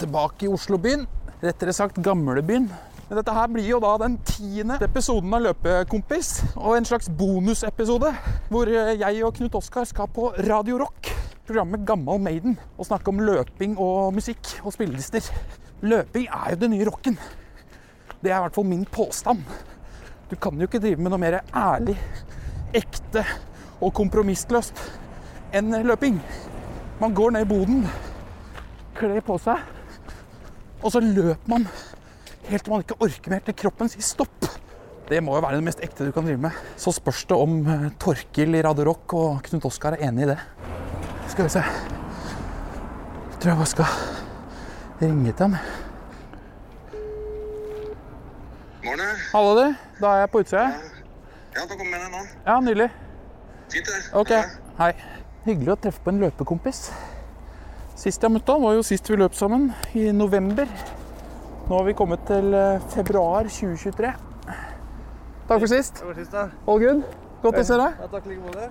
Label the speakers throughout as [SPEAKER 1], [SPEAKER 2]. [SPEAKER 1] Tilbake i Oslobyen. Rettere sagt gamlebyen. Men dette her blir jo da den tiende episoden av Løpekompis. Og en slags bonusepisode hvor eh, jeg og Knut Oskar skal på Radio Rock. Programmet Gammal Maiden. Og snakke om løping og musikk og spillelister. Løping er jo den nye rocken. Det er i hvert fall min påstand. Du kan jo ikke drive med noe mer ærlig, ekte og kompromissløst enn løping. Man går ned i boden kle på seg. Og så løper man helt til man ikke orker mer, til kroppen sier stopp. Det må jo være det mest ekte du kan drive med. Så spørs det om eh, Torkil i Radio Rock og Knut Oskar er enig i det. Skal vi se. Jeg tror jeg bare skal ringe til ham.
[SPEAKER 2] Morne.
[SPEAKER 1] Hallo, du. Da er jeg på utsida.
[SPEAKER 2] Ja, da kommer jeg ned nå.
[SPEAKER 1] Ja, nydelig.
[SPEAKER 2] Fint, det.
[SPEAKER 1] Ok.
[SPEAKER 2] Ja.
[SPEAKER 1] Hei. Hyggelig å treffe på en løpekompis. Sist jeg møtte han, var jo sist vi løp sammen, i november. Nå har vi kommet til eh, februar 2023. Takk for sist.
[SPEAKER 3] var sist, da.
[SPEAKER 1] All good? Godt å se deg.
[SPEAKER 3] Ja, takk like måte.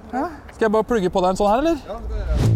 [SPEAKER 1] Skal jeg bare plugge på deg en sånn her, eller?
[SPEAKER 3] Ja, det gjør jeg.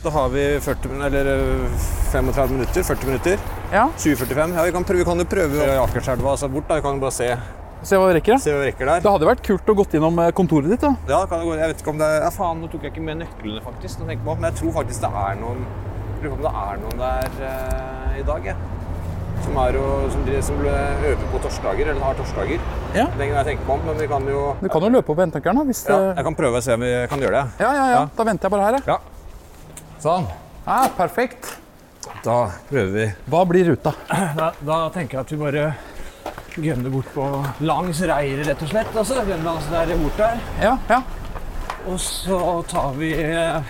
[SPEAKER 3] Da har vi 40, min- eller øh, 35 minutter, 40 minutter.
[SPEAKER 1] Ja.
[SPEAKER 3] 2045. Ja, vi kan, prøve, vi kan jo prøve å Akerselva altså bort. da. Vi kan jo bare se,
[SPEAKER 1] Se hva vi rekker, da.
[SPEAKER 3] se hva vi rekker der.
[SPEAKER 1] Det hadde vært kult å gått innom eh, kontoret ditt. da.
[SPEAKER 3] Ja, kan det gå. Jeg vet ikke om det er Ja, faen, nå tok jeg ikke med nøklene, faktisk. Nå tenker jeg på. Men jeg tror faktisk det er noen jeg Lurer på om det er noen der eh, i dag, jeg. Som, er jo, som, driver- som ble øver på torsdager, eller har torsdager. Det
[SPEAKER 1] Ja.
[SPEAKER 3] er ikke noe jeg tenker på, men vi kan jo
[SPEAKER 1] Du kan jo løpe opp venteankeren. da, hvis
[SPEAKER 3] ja,
[SPEAKER 1] det-
[SPEAKER 3] Jeg kan prøve å se om vi kan gjøre det.
[SPEAKER 1] ja, ja, ja. Da venter jeg bare her. jeg.
[SPEAKER 3] Ja. Sånn.
[SPEAKER 1] Ja, perfekt.
[SPEAKER 3] Da prøver vi.
[SPEAKER 1] Hva blir ruta?
[SPEAKER 4] Da, da tenker jeg at vi bare gønner bort på langs reiret, rett og slett. Altså, gønner langs der bort der.
[SPEAKER 1] Ja, ja.
[SPEAKER 4] Og så tar vi eh,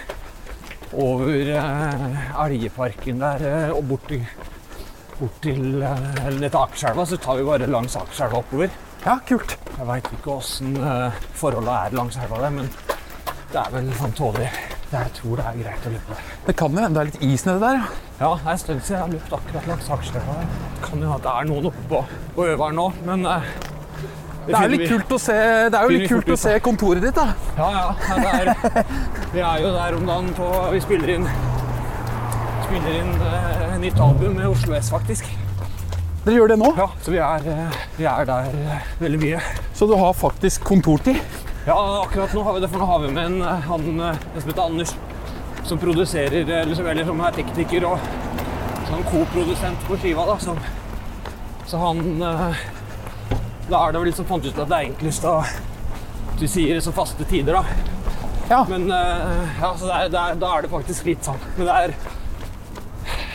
[SPEAKER 4] over eh, Elgeparken der eh, og bort til, bort til eh, eller ned til Akerselva. Så tar vi bare langs Akerselva oppover.
[SPEAKER 1] ja kult.
[SPEAKER 4] Jeg veit ikke åssen eh, forholda er langs elva der, men det er vel fan tåler. Det- Jeg tror det er greit å løpe der.
[SPEAKER 1] Det kan jo hende det er litt is nedi der. ja.
[SPEAKER 4] Ja, det er en stund siden jeg har løpt akkurat langs Akerselva. der. Kan jo at det er noen oppe på, på øveren nå, men eh,
[SPEAKER 1] Det er jo litt
[SPEAKER 4] finner vi.
[SPEAKER 1] kult å se, det er jo
[SPEAKER 4] Finner
[SPEAKER 1] litt
[SPEAKER 4] vi
[SPEAKER 1] kult
[SPEAKER 4] fort
[SPEAKER 1] å
[SPEAKER 4] ut,
[SPEAKER 1] se kontoret ditt. da.
[SPEAKER 4] Ja, ja. Det er, vi er jo der om dagen på Vi spiller inn Spiller inn eh, nytt album med Oslo S, faktisk.
[SPEAKER 1] Dere gjør det nå,
[SPEAKER 4] Ja, Så vi er, eh, vi er der eh, veldig mye.
[SPEAKER 1] så du har faktisk kontortid.
[SPEAKER 4] Ja, akkurat nå har vi det, for nå har vi med en, eh, han, eh, en som heter Anders, som produserer eh, eller som- Eller som er tekniker og sånn koprodusent på skiva, da. Som, så han eh, Da er det vel litt som fant ut at det er enklest å Du sier det som faste tider, da.
[SPEAKER 1] Ja.
[SPEAKER 4] Men eh, ja, så det er, det er, da er det faktisk litt sånn. Men det er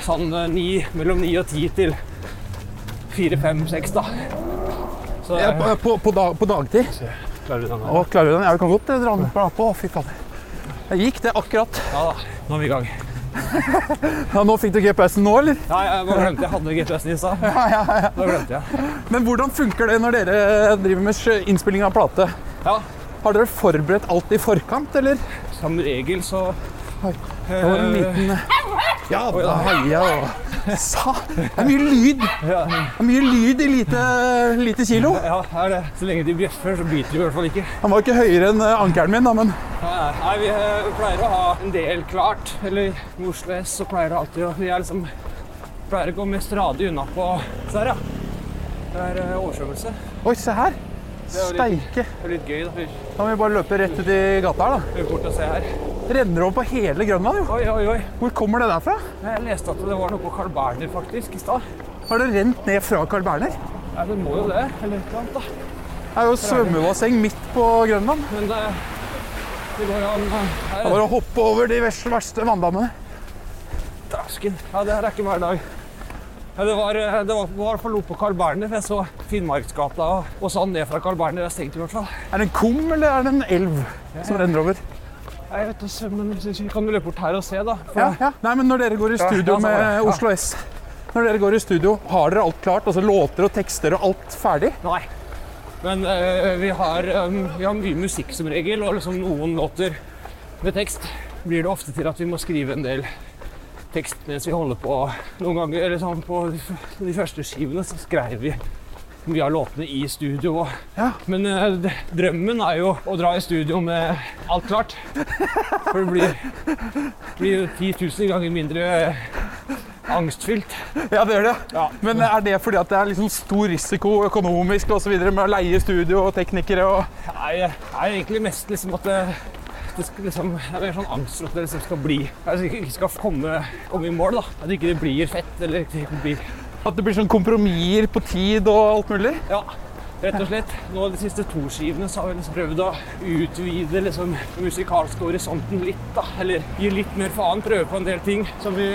[SPEAKER 4] sånn eh, ni, mellom ni og ti til fire, fem, seks, da. Så eh,
[SPEAKER 1] Ja, på, på, på, dag, på dagtid.
[SPEAKER 4] klarer du den her.
[SPEAKER 1] Å, klarer du den? Ja, vi kan godt eh, dra den på. på. Fy fader. Jeg gikk det akkurat.
[SPEAKER 4] Ja da, nå er vi i gang.
[SPEAKER 1] Ja, nå fikk du GPS-en nå, eller?
[SPEAKER 4] Nei, jeg bare glemte jeg hadde GPS-en i stad. Da glemte jeg.
[SPEAKER 1] Men hvordan funker det når dere eh, driver med sj- innspilling av plate?
[SPEAKER 4] Ja,
[SPEAKER 1] Har dere forberedt alt i forkant, eller?
[SPEAKER 4] som regel så
[SPEAKER 1] Det var en liten eh, Ja, da heia Sa! Det er mye lyd. Det
[SPEAKER 4] Ja.
[SPEAKER 1] er mye lyd i lite, lite kilo.
[SPEAKER 4] Ja, det er det. Så lenge de bjeffer, så biter de i hvert fall ikke.
[SPEAKER 1] Han var ikke høyere enn eh, ankelen min, da, men
[SPEAKER 4] Nei, nei, vi eh, pleier å ha en del klart. Eller med Oslo S så pleier det alltid å Vi er liksom pleier å gå mest radig unna på Der, ja. Det er eh, oversvømmelse.
[SPEAKER 1] Oi, se her!
[SPEAKER 4] Det er jo litt-
[SPEAKER 1] Steike!
[SPEAKER 4] Det er litt gøy, da. Vi
[SPEAKER 1] Da må vi bare løpe rett ut i gata her, da.
[SPEAKER 4] løper bort og ser her.
[SPEAKER 1] Renner over på hele Grønland, jo.
[SPEAKER 4] Oi, oi, oi.
[SPEAKER 1] Hvor kommer det der fra?
[SPEAKER 4] Jeg leste at det var noe på Carl Berner faktisk i stad.
[SPEAKER 1] Har det rent ned fra Carl Berner?
[SPEAKER 4] Ja, det må jo det. Eller et eller annet, da.
[SPEAKER 1] Det er jo svømmebasseng midt på Grønland.
[SPEAKER 4] Men det, det går jo an eh,
[SPEAKER 1] Det
[SPEAKER 4] her,
[SPEAKER 1] er Bare å hoppe over de verste, verste vanndammene.
[SPEAKER 4] Drasken. Ja, det her er ikke hver dag. Ja, det var, eh, det var, var på på Carl Berner. Jeg så Finnmarksgata og, og sånn ned fra Carl Berner. Det er stengt i hvert fall.
[SPEAKER 1] Er det en kum eller er det en elv som renner over?
[SPEAKER 4] Jeg vet ikke, men vi kan jo løpe bort her og se, da. For
[SPEAKER 1] Ja, ja. Nei, men når dere går i studio
[SPEAKER 4] ja, sånn var
[SPEAKER 1] med
[SPEAKER 4] det. Ja.
[SPEAKER 1] Oslo S Når dere går i studio, har dere alt klart? Altså låter og tekster og alt ferdig?
[SPEAKER 4] Nei. Men eh, vi, har, em, vi har mye musikk som regel, og liksom noen låter med tekst blir det ofte til at vi må skrive en del tekst mens vi holder på. Noen ganger, eller sånn, På de, f- de første skivene så skrev vi mye av låtene i studio. og-
[SPEAKER 1] Ja.
[SPEAKER 4] Men eh, d- drømmen er jo å dra i studio med alt klart. For det blir, blir jo 10 000 ganger mindre eh, angstfylt.
[SPEAKER 1] Ja, det gjør det. Men er det fordi at det er liksom stor risiko økonomisk og så videre med å leie studio og teknikere og
[SPEAKER 4] Nei, det er egentlig mest liksom at det, det, skal liksom, det er mer sånn angst for at det liksom skal bli altså ikke, ikke skal komme, komme i mål. da. At ikke det blir fett. eller ikke det blir...
[SPEAKER 1] At det blir sånn kompromisser på tid og alt mulig?
[SPEAKER 4] Ja, rett og slett. Nå De siste to skivene så har vi liksom prøvd å utvide liksom, den musikalske horisonten litt. da. Eller gi litt mer faen. Prøve på en del ting som vi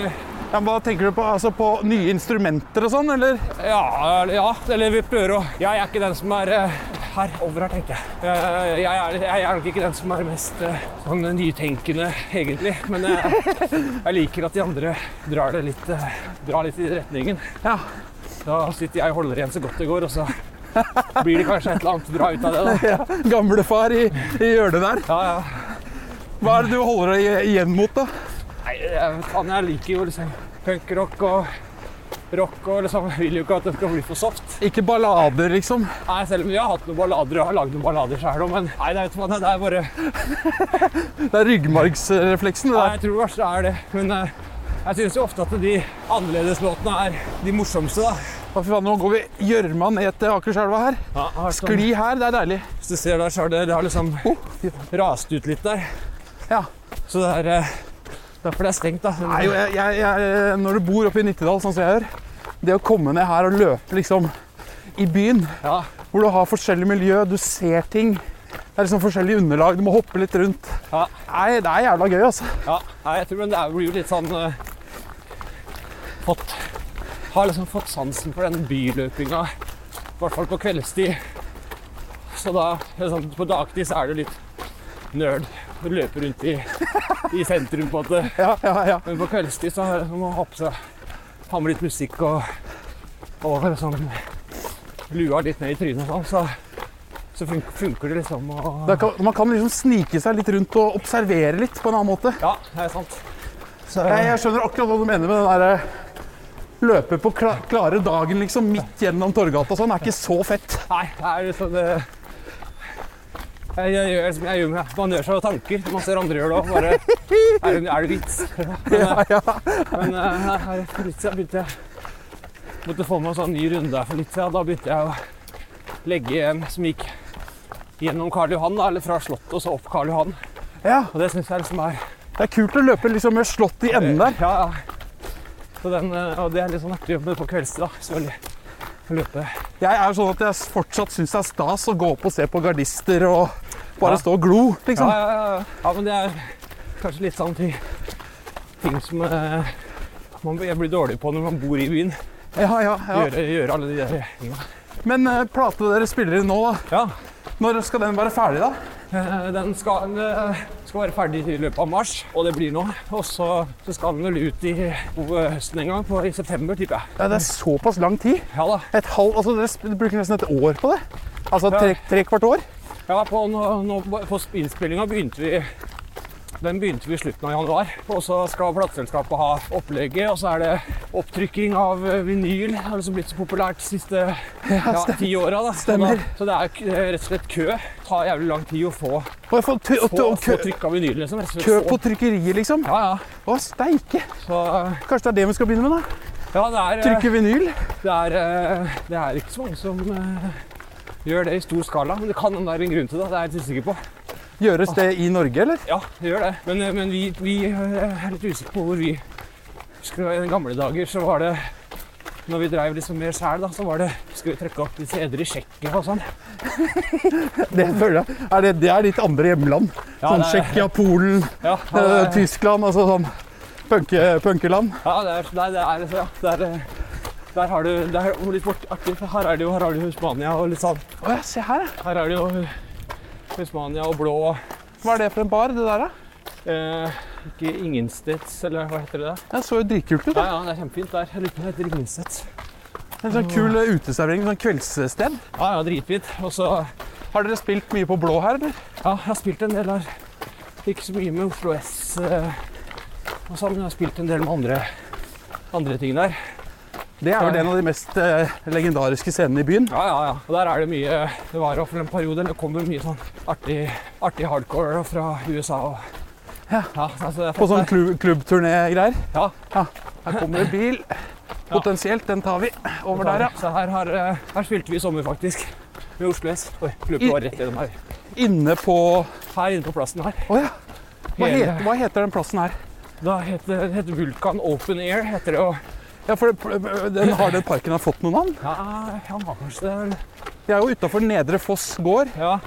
[SPEAKER 1] Ja, men Hva tenker du på? Altså på nye instrumenter og sånn, eller?
[SPEAKER 4] Ja, eller- ja eller vi prøver å Jeg er ikke den som er eh, her over her, tenker jeg. Eh, Jeg er, jeg er nok ikke den som er mest eh, sånn nytenkende, egentlig. Men eh, jeg liker at de andre drar det litt, eh, drar litt i retningen.
[SPEAKER 1] Ja.
[SPEAKER 4] Da sitter jeg og holder igjen så godt det går, og så blir det kanskje et eller annet bra ut av det. da.
[SPEAKER 1] ja. Gamlefar i, i hjørnet der.
[SPEAKER 4] Ja, ja.
[SPEAKER 1] Hva er det du holder deg i- igjen mot, da?
[SPEAKER 4] Nei, jeg, vet faen, jeg liker jo liksom punkrock og rock og liksom Vil jo ikke at det skal bli for soft.
[SPEAKER 1] Ikke ballader, liksom.
[SPEAKER 4] Nei, selv om vi har hatt noen ballader og har lagd noen ballader sjøl òg, men nei, det er, vet du hva, det er bare
[SPEAKER 1] Det er ryggmargsrefleksen. det
[SPEAKER 4] Nei,
[SPEAKER 1] der.
[SPEAKER 4] jeg tror det verste er det. Men eh, jeg syns jo ofte at de annerledeslåtene er de morsomste, da.
[SPEAKER 1] Å, fy faen, nå går vi gjørma ned til Akerselva her.
[SPEAKER 4] Skli.
[SPEAKER 1] Skli her, det er deilig.
[SPEAKER 4] Hvis du ser der, så har det, det har liksom rast ut litt der.
[SPEAKER 1] Oh. Ja.
[SPEAKER 4] Så det er eh, derfor det er stengt, da.
[SPEAKER 1] Nei, jo, jeg, jeg, jeg, når du bor oppe i Nittedal, sånn som jeg gjør, det å komme ned her og løpe liksom i byen,
[SPEAKER 4] Ja,
[SPEAKER 1] hvor du har forskjellig miljø, du ser ting Det er liksom forskjellige underlag, du må hoppe litt rundt.
[SPEAKER 4] Ja.
[SPEAKER 1] Nei, det er jævla gøy, altså.
[SPEAKER 4] ja. Nei, jeg tror men det er- blir jo litt sånn eh, fått Har liksom fått sansen for den byløpinga, i hvert fall på kveldstid. Så da, liksom, på dagtid så er det jo litt nerd å løpe rundt i, i sentrum, på en måte.
[SPEAKER 1] Ja, ja, ja.
[SPEAKER 4] Men på kveldstid så har- må man ha på seg ha med litt musikk og, og liksom lua litt ned i trynet og sånn, så, så fun- funker det liksom. Og,
[SPEAKER 1] Da kan, man kan liksom snike seg litt rundt og observere litt på en annen måte.
[SPEAKER 4] ja, det er sant. Så,
[SPEAKER 1] Jeg, jeg skjønner akkurat hva du mener med den der eh, løpe på kla, klare dagen liksom midt gjennom Torgata og sånn. er ikke så fett.
[SPEAKER 4] Nei, det er liksom det jeg, jeg, gjør liksom, jeg gjør meg, Man gjør seg jo tanker når man ser andre gjøre det òg. Bare Er det, er det vits?
[SPEAKER 1] Ja, ja.
[SPEAKER 4] Men eh, her for litt siden begynte jeg Måtte få meg en sånn ny runde her for litt siden. Da begynte jeg å legge en som gikk gjennom Karl Johan, da, eller fra Slottet og så opp Karl Johan.
[SPEAKER 1] ja.
[SPEAKER 4] Og det syns jeg liksom er
[SPEAKER 1] Det er kult å løpe liksom med slått i enden der.
[SPEAKER 4] Ja, ja. Så den, eh, og det er litt sånn artig å jobbe med på kveldstid, da. Selvfølgelig. Å løpe.
[SPEAKER 1] Jeg er jo sånn at jeg fortsatt syns det er stas å gå opp og se på gardister og bare
[SPEAKER 4] Ja.
[SPEAKER 1] stå og glo,
[SPEAKER 4] Ja,
[SPEAKER 1] liksom.
[SPEAKER 4] ja, ja, ja. ja, men det er kanskje litt sånn ting, ting som eh, man, jeg blir dårlig på når man bor i byen.
[SPEAKER 1] Ja, ja, ja.
[SPEAKER 4] Gjøre, gjøre alle de der tingene.
[SPEAKER 1] Men uh, platene dere spiller inn nå, da,
[SPEAKER 4] Ja.
[SPEAKER 1] når skal den være ferdig, da?
[SPEAKER 4] Eh, Den skal, den, eh, skal være ferdig i løpet av mars, og det blir nå. Og så, så skal den vel ut i på høsten en gang, på, i september, tipper jeg.
[SPEAKER 1] Ja, det er såpass lang tid.
[SPEAKER 4] Ja da.
[SPEAKER 1] Et halv, altså Dere sp- bruker nesten et år på det? Altså tre, tre kvart år?
[SPEAKER 4] Ja, på, nå, nå, på innspillinga begynte vi den begynte vi i slutten av januar. Og så skal plateselskapet ha opplegget, og så er det opptrykking av eh, vinyl. Det har liksom blitt så populært de siste ja, ti åra. da. Så
[SPEAKER 1] stemmer.
[SPEAKER 4] da- Så det er k- eh, rett og slett kø. Det tar jævlig lang tid å få,
[SPEAKER 1] Og jeg får t og
[SPEAKER 4] få,
[SPEAKER 1] t
[SPEAKER 4] få
[SPEAKER 1] kø,
[SPEAKER 4] trykk av vinyl. liksom. Rett og slett
[SPEAKER 1] kø
[SPEAKER 4] få-
[SPEAKER 1] på trykkeriet, liksom?
[SPEAKER 4] Ja, ja.
[SPEAKER 1] Å, steike!
[SPEAKER 4] Så eh,
[SPEAKER 1] Kanskje det er det vi skal begynne med, da?
[SPEAKER 4] Ja, det er, eh,
[SPEAKER 1] Trykke vinyl.
[SPEAKER 4] det er, eh, det er ikke så mange som eh, gjør det i stor skala, men det kan være en grunn til det. Det er jeg litt usikker på.
[SPEAKER 1] Gjøres det i Norge, eller?
[SPEAKER 4] Ja, det gjør det. Men, eh, men vi, vi eh, er litt usikre på hvor vi Husker du i gamle dager så var det Når vi dreiv liksom mer sjæl, da, så var det Skulle vi trekke opp disse edre i Tsjekkia og sånn.
[SPEAKER 1] Det føler jeg. Er det, det er ditt andre hjemland.
[SPEAKER 4] Ja,
[SPEAKER 1] sånn
[SPEAKER 4] det er-
[SPEAKER 1] Tsjekkia, Polen,
[SPEAKER 4] Ja, ja,
[SPEAKER 1] eh,
[SPEAKER 4] det,
[SPEAKER 1] Tyskland, altså sånn punke- punkeland.
[SPEAKER 4] ja, det er, nei, det er ja, der, eh, der har du Det er jo litt bort, artig. for Her er det jo, her har du jo Spania og litt sånn.
[SPEAKER 1] Å ja, se her, ja.
[SPEAKER 4] Her er det jo eh, Spania og blå
[SPEAKER 1] Hva er det for en bar, det der, da?
[SPEAKER 4] eh, Ikke Ingensteds, eller hva heter det? der?
[SPEAKER 1] Det så jo dritkult ut.
[SPEAKER 4] Ja,
[SPEAKER 1] da.
[SPEAKER 4] ja, det er kjempefint der. Jeg lurer på om det heter Ingensteds.
[SPEAKER 1] En sånn kul eh, uteservering, sånn kveldssted.
[SPEAKER 4] Ja, ja, dritfint. Og så
[SPEAKER 1] Har dere spilt mye på blå her, eller?
[SPEAKER 4] Ja, jeg har spilt en del her. Ikke så mye med Oslo S eh, og sånn, men jeg har spilt en del med andre, andre ting der.
[SPEAKER 1] Det er vel en av de mest eh, legendariske scenene i byen.
[SPEAKER 4] Ja, ja, ja. Og der er det mye Det var i hvert fall en periode det kom det mye sånn artig, artig hardcore fra USA og
[SPEAKER 1] Ja.
[SPEAKER 4] altså, jeg
[SPEAKER 1] På sånn klu- klubbturné-greier.
[SPEAKER 4] Ja.
[SPEAKER 1] Her kommer det bil. Potensielt, den tar vi. Over der, ja.
[SPEAKER 4] Så her, har, eh, her spilte vi i sommer, faktisk. Med Oslo S. Oi, løpet var rett gjennom her.
[SPEAKER 1] Inne på
[SPEAKER 4] Her inne på plassen her.
[SPEAKER 1] Å ja. Hva
[SPEAKER 4] Hele-
[SPEAKER 1] heter, hva heter den plassen her?
[SPEAKER 4] Da heter, heter Vulkan Open Air, heter det. Og,
[SPEAKER 1] Ja, for det- den Har den parken har fått noe navn?
[SPEAKER 4] ja, han har kanskje det. vel.
[SPEAKER 1] De er jo utafor Nedre Foss gård.
[SPEAKER 4] Ja.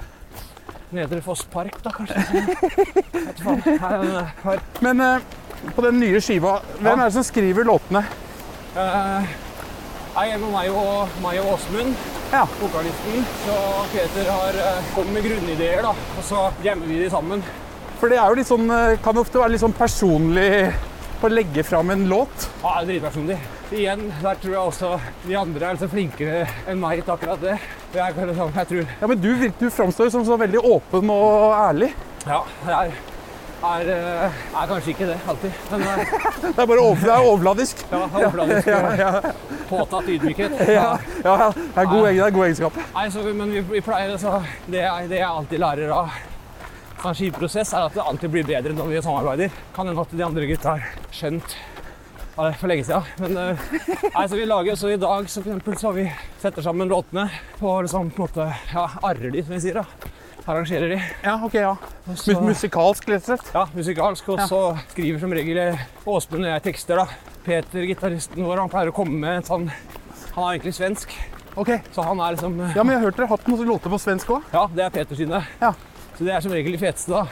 [SPEAKER 4] Nedre Foss Park, da, kanskje. Vet du faen. Her, er den her.
[SPEAKER 1] Men eh, på den nye skiva, hvem er det som skriver låtene?
[SPEAKER 4] Eh, Jeg er med meg og, meg og Åsmund,
[SPEAKER 1] Ja.
[SPEAKER 4] vokalisten. Så Peter har eh, kommet med grunnideer, da. Og så jammer vi de sammen.
[SPEAKER 1] For det er jo litt sånn, eh, kan ofte være litt sånn personlig å legge fram en låt.
[SPEAKER 4] Ja, det er dritpersonlig. Igjen, der tror jeg også de andre er liksom flinkere enn meg til akkurat det. Og Jeg, kan liksom, jeg tror
[SPEAKER 1] Ja, Men du, virker- du framstår som så veldig åpen og ærlig.
[SPEAKER 4] Ja, jeg er, er, eh, er kanskje ikke det alltid. Men eh,
[SPEAKER 1] Det er bare over, det er overfladisk.
[SPEAKER 4] ja, overfladisk
[SPEAKER 1] Ja,
[SPEAKER 4] og
[SPEAKER 1] ja,
[SPEAKER 4] påtatt ydmykhet.
[SPEAKER 1] ja, ja, det er god, egen- det er god egenskap.
[SPEAKER 4] Nei, så, men vi, vi pleier altså det, jeg- det jeg alltid lærer av sånn skiprosess, er at det alltid blir bedre når vi samarbeider. Kan hende at de andre gutta har skjønt av det for lenge siden. Men eh, nei, så vi lager, så i dag så for eksempel, så har vi setter sammen låtene på liksom, på en måte, ja, arrer de, som vi sier. da. Arrangerer de.
[SPEAKER 1] Ja, ok, ja.
[SPEAKER 4] Og så-
[SPEAKER 1] Mus musikalsk, rett og slett.
[SPEAKER 4] ja, musikalsk. Og så skriver som regel eh, Åsmund og jeg tekster, da. Peter, gitaristen vår, han pleier å komme med en sånn Han er egentlig svensk,
[SPEAKER 1] Ok.
[SPEAKER 4] så han er liksom eh,
[SPEAKER 1] Ja, men jeg har hørt dere har hatt noen låter på svensk òg.
[SPEAKER 4] Ja, det er Peter sine.
[SPEAKER 1] Ja.
[SPEAKER 4] Så det er som regel de feteste, da.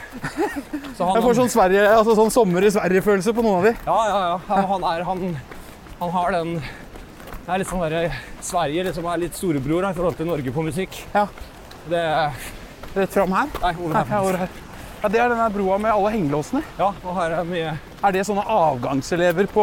[SPEAKER 4] Så han,
[SPEAKER 1] Jeg får sånn, Sverige, altså sånn sommer i Sverige-følelse på noen av de.
[SPEAKER 4] Ja, ja, ja. Han, han er han, han har den Det er litt sånn derre Sverige liksom er litt storebror da, i forhold til Norge på musikk.
[SPEAKER 1] Ja.
[SPEAKER 4] Det
[SPEAKER 1] Rett fram her.
[SPEAKER 4] Nei, over
[SPEAKER 1] Her,
[SPEAKER 4] her.
[SPEAKER 1] her, over her. Ja, Det er denne broa med alle hengelåsene.
[SPEAKER 4] Ja, og her er mye
[SPEAKER 1] Er det sånne avgangselever på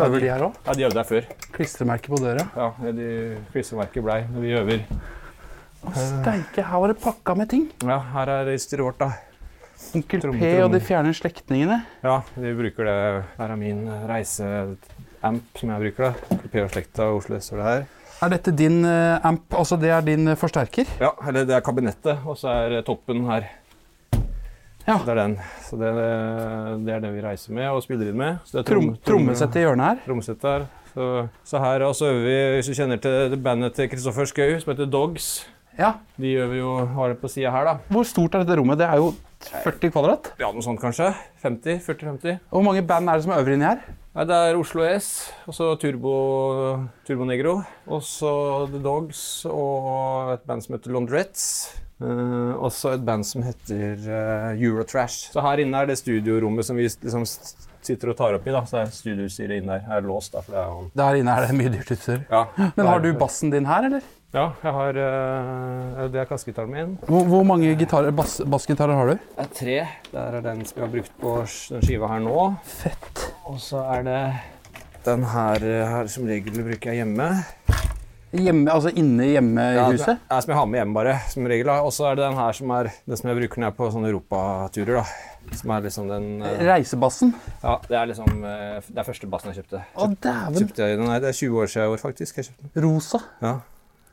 [SPEAKER 1] Øver de her òg?
[SPEAKER 4] Ja, de øvde her før.
[SPEAKER 1] Klistremerke på døra.
[SPEAKER 4] Ja, de klistremerket blei når vi øver.
[SPEAKER 1] Å, Steike, her var det pakka med ting.
[SPEAKER 4] Ja, her er registeret vårt, da.
[SPEAKER 1] Onkel
[SPEAKER 4] Tromme,
[SPEAKER 1] P og
[SPEAKER 4] tromme.
[SPEAKER 1] de fjerne slektningene.
[SPEAKER 4] Ja, vi bruker det. Her er min reiseamp som jeg bruker, da. Per og slekta og Oslo S står det her.
[SPEAKER 1] Er dette din eh, amp? Altså, det er din eh, forsterker?
[SPEAKER 4] Ja, eller det er kabinettet, og så er toppen her.
[SPEAKER 1] Ja.
[SPEAKER 4] Det er den. Så det, det er det vi reiser med og spiller inn med. Så det er
[SPEAKER 1] Trom, trommesett i hjørnet her.
[SPEAKER 4] Tromsøt der. Så, så her og så øver vi, hvis du kjenner til det bandet til Kristoffer Schou, som heter Dogs.
[SPEAKER 1] Ja.
[SPEAKER 4] De øver jo, har det på sida her, da.
[SPEAKER 1] Hvor stort er dette rommet? Det er jo 40 kvadrat.
[SPEAKER 4] Ja, noe sånt kanskje. 50? 40-50?
[SPEAKER 1] Hvor mange band er det som øver inni her?
[SPEAKER 4] Nei, det er Oslo S, og så Turbo, Turbo Negro. Og så The Dogs og et band som heter Laundrettes. Eh, og så et band som heter eh, Eurotrash. Så her inne er det studiorommet som vi liksom s- sitter og tar opp i. da, Så er studiostyret inne der. Her er låst, da, for det er jo
[SPEAKER 1] Der inne er det mye dyrt utstyr.
[SPEAKER 4] ja,
[SPEAKER 1] Men har du bassen din her, eller?
[SPEAKER 4] Ja, jeg har, eh, det er kassegitaren min.
[SPEAKER 1] Hvor, hvor mange gitarer, bass, bassgitarer har du?
[SPEAKER 4] Det er tre. Der er den som vi har brukt på sk- den skiva her nå.
[SPEAKER 1] Fett.
[SPEAKER 4] Og så er det den her, eh, her som regel bruker jeg hjemme.
[SPEAKER 1] Hjemme, altså inne hjemme i
[SPEAKER 4] Ja,
[SPEAKER 1] huset?
[SPEAKER 4] Det er som jeg har med hjem, bare. som regel. da. Og så er det den her som er den som jeg bruker når jeg er på sånne europaturer. da. Som er liksom den eh,
[SPEAKER 1] Reisebassen?
[SPEAKER 4] Ja, det er liksom eh, f- Det er første bassen jeg kjøpte.
[SPEAKER 1] Å, dæven.
[SPEAKER 4] Kjøpte jeg den her, Det er 20 år siden i år, faktisk. jeg kjøpte den.
[SPEAKER 1] Rosa.
[SPEAKER 4] Ja,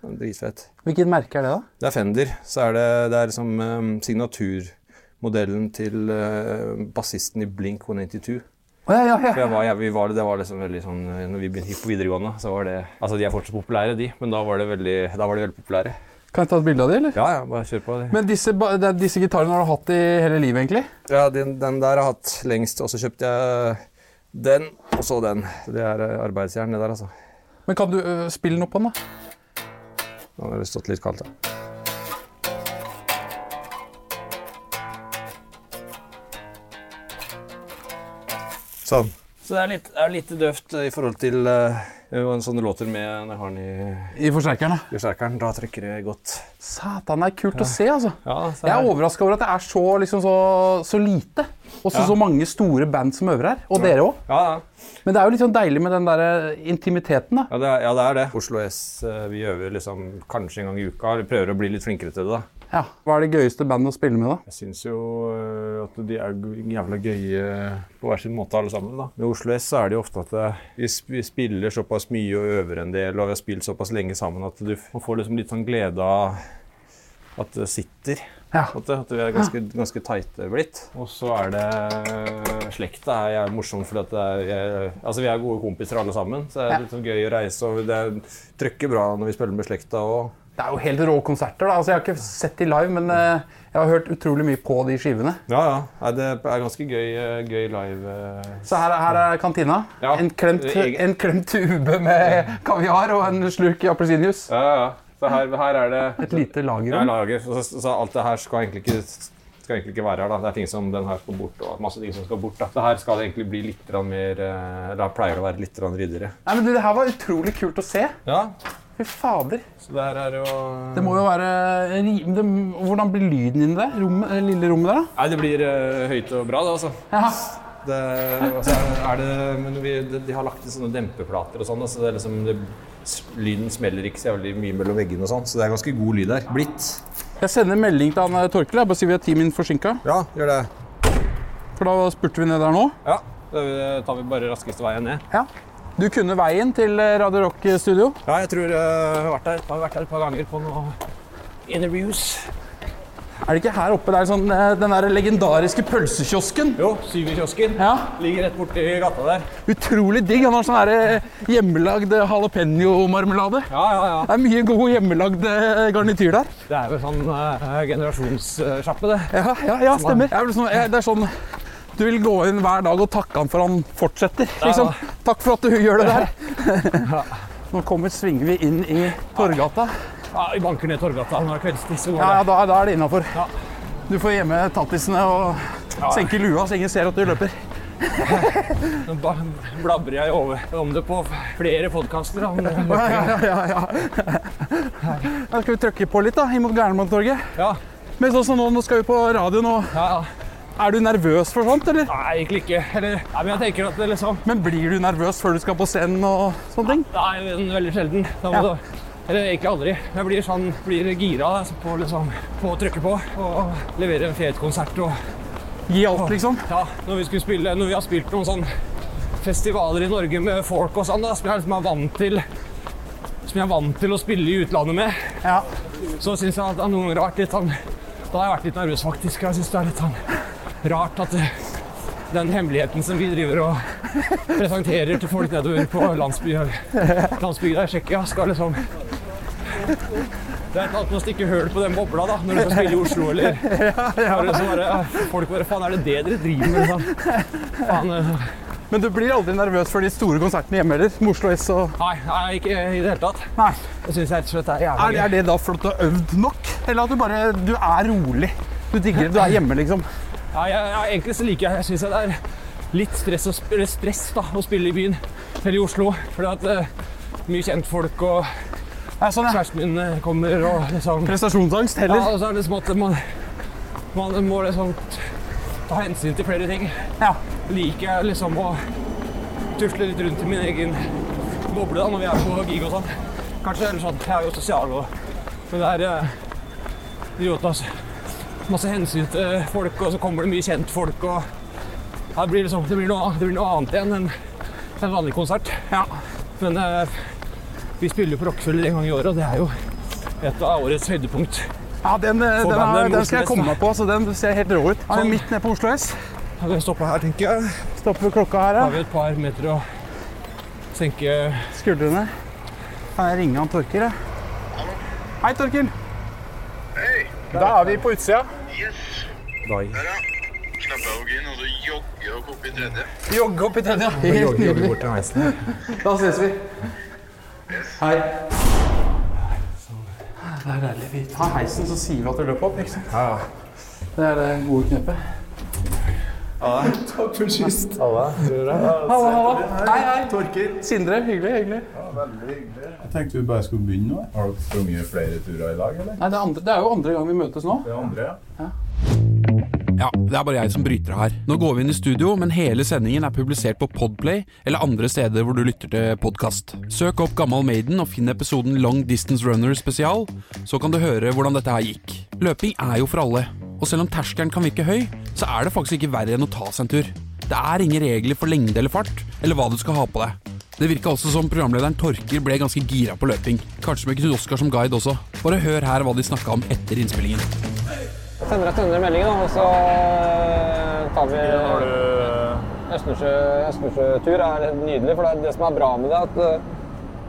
[SPEAKER 4] den er Dritfett.
[SPEAKER 1] Hvilket merke er det, da?
[SPEAKER 4] Det er Fender. Så er det, det er liksom eh, signaturmodellen til eh, bassisten i Blink 182.
[SPEAKER 1] Å, ja, ja,
[SPEAKER 4] For
[SPEAKER 1] ja.
[SPEAKER 4] jeg var, jeg, vi var, det var liksom veldig sånn, eh, når vi begynte gikk på videregående, så var det Altså, de er fortsatt populære, de, men da var det veldig, da var de veldig populære.
[SPEAKER 1] Kan jeg ta et bilde av de, eller?
[SPEAKER 4] Ja, ja, bare kjør på. det.
[SPEAKER 1] Men disse, ba- det er- disse gitarene har du hatt i hele livet, egentlig?
[SPEAKER 4] Ja, den, den der har jeg hatt lengst, og så kjøpte jeg den, og så den. Det er eh, arbeidsjern, det der, altså.
[SPEAKER 1] Men kan du øh, spille noe på den, da?
[SPEAKER 4] Nå har det stått litt kaldt, da. Sånn. Så det er litt, er litt døvt eh, i forhold til eh, en sånn låter med når jeg har den i
[SPEAKER 1] I forsterkeren, da.
[SPEAKER 4] forsterkeren. Da trykker det godt.
[SPEAKER 1] Satan, det er kult å se, altså.
[SPEAKER 4] Ja, så
[SPEAKER 1] Jeg
[SPEAKER 4] her-
[SPEAKER 1] er overraska over at det er så, liksom, så, så lite. Og så,
[SPEAKER 4] Ja.
[SPEAKER 1] så mange store band som øver her. Og dere òg.
[SPEAKER 4] Ja, ja.
[SPEAKER 1] Men det er jo litt sånn deilig med den der eh, intimiteten, da.
[SPEAKER 4] Ja, det er, ja, det er det. Oslo S, eh, vi øver liksom kanskje en gang i uka. Vi prøver å bli litt flinkere til det, da.
[SPEAKER 1] Ja. Hva er det gøyeste bandet å spille med, da?
[SPEAKER 4] Jeg syns jo eh, at de er g- jævla gøye på hver sin måte, alle sammen. da. Med Oslo S så er det jo ofte at eh, vi sp- vi spiller såpass mye og øver en del, og vi har spilt såpass lenge sammen at du f- man får liksom litt sånn glede av at det sitter.
[SPEAKER 1] Ja.
[SPEAKER 4] At, det, at vi er ganske, ganske tighte blitt. Og så er det Slekta er jævlig morsom, for at det er, jeg, altså vi er gode kompiser alle sammen. Så det
[SPEAKER 1] Ja.
[SPEAKER 4] er litt sånn gøy å reise, og det er- trykker bra når vi spiller med slekta òg.
[SPEAKER 1] Det er jo helt rå konserter, da. Altså, jeg har ikke sett de live, men eh, jeg har hørt utrolig mye på de skivene.
[SPEAKER 4] Ja, ja. Nei, det er ganske gøy, eh, gøy live. eh.
[SPEAKER 1] Så her, er- her er kantina.
[SPEAKER 4] Ja.
[SPEAKER 1] En, klemt,
[SPEAKER 4] Egen-
[SPEAKER 1] en klemt tube med kaviar og en slurk appelsinjuice.
[SPEAKER 4] Ja, ja. Så her, her er det
[SPEAKER 1] Et lite
[SPEAKER 4] Ja,
[SPEAKER 1] lagerrom.
[SPEAKER 4] lager. Så, så, så alt det her skal egentlig ikke skal egentlig ikke være her. da. Det er ting som den her skal bort, og masse ting som skal bort. da. Så her skal det egentlig bli litt grann mer eh, Da pleier det å være litt grann ryddigere.
[SPEAKER 1] Nei, men du, Det her var utrolig kult å se.
[SPEAKER 4] Ja,
[SPEAKER 1] Fy fader.
[SPEAKER 4] så det her er jo
[SPEAKER 1] Det må jo være ri- det, Hvordan blir lyden inni det rommet, det lille rommet der, da?
[SPEAKER 4] Nei, det blir eh, høyt og bra, det, altså.
[SPEAKER 1] Ja.
[SPEAKER 4] Det, altså er det, men vi, de, de har lagt til sånne dempeplater og sånn, da, så det er liksom, det, s- lyden smeller ikke så jævlig mye mellom veggene og sånn, så det er ganske god lyd her. Blitt.
[SPEAKER 1] Jeg sender en melding til han eh, Torkel. Jeg bare sier vi er ti minutter forsinka.
[SPEAKER 4] Ja, gjør det.
[SPEAKER 1] For da spurte vi ned der nå.
[SPEAKER 4] Ja, da eh, tar vi bare raskeste veien ned.
[SPEAKER 1] Ja. Du kunne veien til eh, Radio Rock Studio.
[SPEAKER 4] Ja, jeg tror eh, jeg har vært her, har vært her et par ganger på noen interviews.
[SPEAKER 1] Er det ikke her oppe det er sånn, eh, den der legendariske pølsekiosken?
[SPEAKER 4] Jo, Syverkiosken.
[SPEAKER 1] Ja.
[SPEAKER 4] Ligger rett borti gata der.
[SPEAKER 1] Utrolig digg. Han har sånn her, eh, hjemmelagd jalapeño-marmelade.
[SPEAKER 4] Ja, ja, ja.
[SPEAKER 1] Det er mye god hjemmelagd eh, garnityr der.
[SPEAKER 4] Det er jo sånn eh, generasjonssjappe, det.
[SPEAKER 1] Ja, ja, ja stemmer. Det er, vel sånn, jeg- det er sånn du vil gå inn hver dag og takke han for han fortsetter. Liksom. Takk for at du gjør det der. Nå kommer, svinger vi inn i Torgata.
[SPEAKER 4] Ja, vi banker ned Torgata når det er kveldstid, så går
[SPEAKER 1] Ja, ja da, da er det innafor.
[SPEAKER 4] Ja.
[SPEAKER 1] Du får gjemme tattisene og senke lua så ingen ser at du løper.
[SPEAKER 4] Nå ba- blabber jeg over om det på flere podkaster.
[SPEAKER 1] Ja, ja, ja, ja. Da skal vi trykke på litt da, imot Gernmantorget.
[SPEAKER 4] Ja,
[SPEAKER 1] Men sånn som nå, nå skal vi på radioen, og
[SPEAKER 4] ja, ja.
[SPEAKER 1] er du nervøs for sånt, eller?
[SPEAKER 4] Nei, egentlig ikke. Eller, nei, men jeg tenker at det liksom
[SPEAKER 1] Men blir du nervøs før du skal på scenen og sånne ting?
[SPEAKER 4] Nei, men veldig sjelden. Da må
[SPEAKER 1] Ja.
[SPEAKER 4] du, eller egentlig aldri. Jeg blir sånn, blir gira altså, på, liksom, på å trykke på og levere en fet konsert. Og,
[SPEAKER 1] Gi alt, liksom?
[SPEAKER 4] ja, når, vi skulle spille, når vi har spilt noen sånn festivaler i Norge med folk og sånn, da, som jeg liksom er vant til som jeg er vant til å spille i utlandet med,
[SPEAKER 1] Ja.
[SPEAKER 4] så syns jeg at det noen ganger har vært litt sånn Da har jeg vært litt nervøs, faktisk. Jeg syns det er litt sånn rart at det, den hemmeligheten som vi driver og presenterer til folk nedover på landsby, eh, landsbygda i Tsjekkia, skal liksom Det er et eller annet med å stikke høl på den bobla da, når du får spille i Oslo, eller bare, så bare, ja, Folk bare Faen, er det det dere driver med? Liksom? Faen, eh,
[SPEAKER 1] Men du blir aldri nervøs for de store konsertene hjemme heller? Med Oslo S og
[SPEAKER 4] nei, nei, ikke i det hele tatt.
[SPEAKER 1] Nei.
[SPEAKER 4] Jeg syns rett og slett det er
[SPEAKER 1] Er,
[SPEAKER 4] jævlig
[SPEAKER 1] er det da flott å ha øvd nok? Eller at du bare Du er rolig? Du digger det? Du er hjemme, liksom?
[SPEAKER 4] Ja, jeg, jeg, egentlig så liker jeg Jeg syns det er litt stress, å, sp- eller stress da, å spille i byen, eller i Oslo. Fordi at eh, mye kjentfolk og
[SPEAKER 1] Ja, sånn, ja.
[SPEAKER 4] kjæresten min eh, kommer og liksom
[SPEAKER 1] Prestasjonsangst
[SPEAKER 4] Ja,
[SPEAKER 1] heller?
[SPEAKER 4] og så er det liksom at man, man må liksom t- ta hensyn til flere ting.
[SPEAKER 1] Ja.
[SPEAKER 4] Liker jeg liksom å tusle litt rundt i min egen boble da, når vi er på gig og sånn. Kanskje eller sånn, jeg er jo sosial og Men det er eh, idiot, altså. Masse hensyn til folk, og så kommer det mye kjentfolk og ja, det, blir liksom, det, blir noe, det blir noe annet igjen enn en vanlig konsert.
[SPEAKER 1] Ja.
[SPEAKER 4] Men eh, vi spiller jo på Rockefeller en gang i året, og det er jo et av årets høydepunkt.
[SPEAKER 1] Ja, den, eh, den,
[SPEAKER 4] bandet
[SPEAKER 1] er-
[SPEAKER 4] med
[SPEAKER 1] den skal
[SPEAKER 4] Oslo
[SPEAKER 1] jeg
[SPEAKER 4] S,
[SPEAKER 1] komme
[SPEAKER 4] da.
[SPEAKER 1] meg på, så den ser helt rå ut. Ja,
[SPEAKER 4] Sånn.
[SPEAKER 1] midt nede på Oslo S.
[SPEAKER 4] Ja, Vi stopper her, tenker jeg.
[SPEAKER 1] Stopper klokka her,
[SPEAKER 4] Da
[SPEAKER 1] ja.
[SPEAKER 4] har vi et par meter å senke
[SPEAKER 1] skuldrene. Kan jeg ringe han Torkil, jeg? Hei, Torkil.
[SPEAKER 2] Hei!
[SPEAKER 1] Da er vi på utsida.
[SPEAKER 2] Yes! Der, ja. Slapp av, Gin, og så jogger jeg opp i tredje.
[SPEAKER 1] Jogge opp i tredje. Helt nydelig. Da ses vi. Hei. Det er deilig. Vi tar heisen, så sier vi at du løper opp. ikke sant? Det er det gode knepet. Halla. Halla, halla. Hei, hei. Sindre, hyggelig. hyggelig.
[SPEAKER 5] Jeg tenkte vi bare skulle begynne nå. Har dere sprunget flere turer i dag, eller?
[SPEAKER 1] Nei, det, er andre, det er jo andre gang vi møtes nå.
[SPEAKER 5] Det andre, ja.
[SPEAKER 6] Ja, det er bare jeg som bryter her. Nå går vi inn i studio, men hele sendingen er publisert på Podplay eller andre steder hvor du lytter til podkast. Søk opp Gammal Maiden og finn episoden Long Distance Runner spesial, så kan du høre hvordan dette her gikk. Løping er jo for alle, og selv om terskelen kan virke høy, så er det faktisk ikke verre enn å ta seg en tur. Det er ingen regler for lengde eller fart, eller hva du skal ha på deg. Det virka også som programlederen Torker ble ganske gira på løping. Kanskje med Knut Oskar som guide også. Bare hør her hva de snakka om etter innspillingen.
[SPEAKER 4] Sender deg 100 meldinger, da, og så Eh, tar vi
[SPEAKER 1] Eh,
[SPEAKER 4] Østensjø- Østensjø-tur. er nydelig, for det, er det som er bra med det, at eh,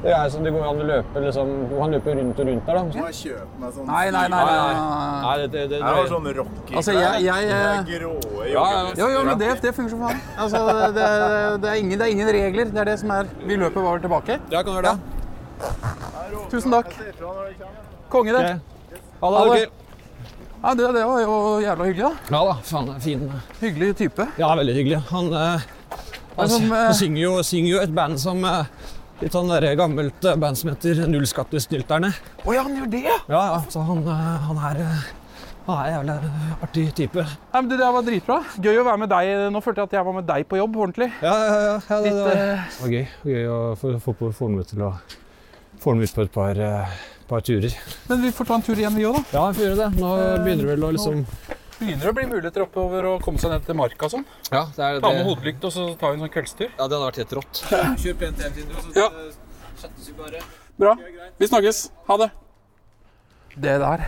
[SPEAKER 4] det er som det går an å løpe liksom, Du kan løpe rundt og rundt der, da.
[SPEAKER 5] Jeg kjøper meg sånn
[SPEAKER 1] Nei, nei, nei. nei, nei.
[SPEAKER 4] Nei, det, det, det,
[SPEAKER 5] Jeg har sånn rocky
[SPEAKER 1] Altså, jeg, jeg eh,
[SPEAKER 5] Gråe
[SPEAKER 4] ja,
[SPEAKER 5] joggebukser.
[SPEAKER 1] Jo, jo, men det, det funker som faen. Altså, det, det, det, er ingen, det er ingen regler. Det er det som er Vi løper bare tilbake.
[SPEAKER 4] ja, kan du gjøre det?
[SPEAKER 1] Tusen takk. Konge, det.
[SPEAKER 4] Ha det.
[SPEAKER 1] Ha det.
[SPEAKER 4] Torgeir.
[SPEAKER 1] Ja, det, det var jo jævla hyggelig, da.
[SPEAKER 4] Ja da, faen, det er fin. eh.
[SPEAKER 1] Hyggelig type.
[SPEAKER 4] Ja, veldig hyggelig. Han, eh,
[SPEAKER 1] som,
[SPEAKER 4] han, sy-
[SPEAKER 1] eh,
[SPEAKER 4] han synger, jo, synger jo et band som eh, Litt sånn der gammelt eh, band som heter Null skattesnylterne.
[SPEAKER 1] Å ja, han gjør det, ja!
[SPEAKER 4] Ja, ja, så han, eh, han er eh, han er en jævlig eh, artig type.
[SPEAKER 1] Nei, men Det der var dritbra. Gøy å være med deg. Nå følte jeg at jeg var med deg på jobb ordentlig.
[SPEAKER 4] Ja, ja, ja. ja det,
[SPEAKER 1] Litt,
[SPEAKER 4] det, var,
[SPEAKER 1] eh,
[SPEAKER 4] det var gøy. Gøy å få, få, på, få ham ut til å få ham ut på et par, eh, par turer.
[SPEAKER 1] men vi får ta en tur igjen, vi òg, da.
[SPEAKER 4] Ja, vi får gjøre det. Nå begynner det vel å liksom
[SPEAKER 1] Begynner å bli muligheter oppover å komme seg ned til marka og sånn.
[SPEAKER 4] Ja, det er
[SPEAKER 1] Ta med hodelykt og så tar vi en sånn kveldstur.
[SPEAKER 4] Ja, det hadde vært helt rått. Kjør pent hjem, Sindre,
[SPEAKER 1] Ja.
[SPEAKER 4] settes vi bare.
[SPEAKER 1] Bra. Vi snakkes. Ha det. Det der,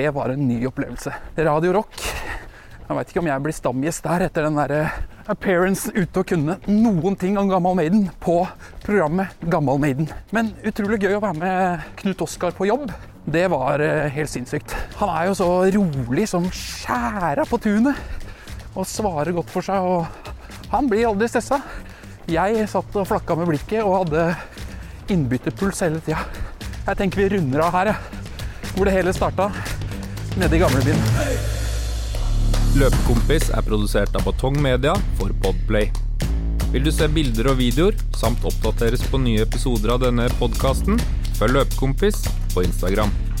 [SPEAKER 1] det var en ny opplevelse. Radio Rock. Jeg veit ikke om jeg blir stamgjest der etter den derre appearance ute og kunne noen ting om Gammal Maiden på programmet Gammal Maiden. Men utrolig gøy å være med Knut Oskar på jobb. Det var eh, helt sinnssykt. Han er jo så rolig som skjæra på tunet og svarer godt for seg. Og han blir aldri stressa. Jeg satt og flakka med blikket og hadde innbytterpuls hele tida. Jeg tenker vi runder av her, jeg. Hvor det hele starta. Nede i gamlebyen.
[SPEAKER 7] Løpekompis er produsert av Batong Media for Podplay. Vil du se bilder og videoer, samt oppdateres på nye episoder av denne podkasten, følg Løpekompis på Instagram.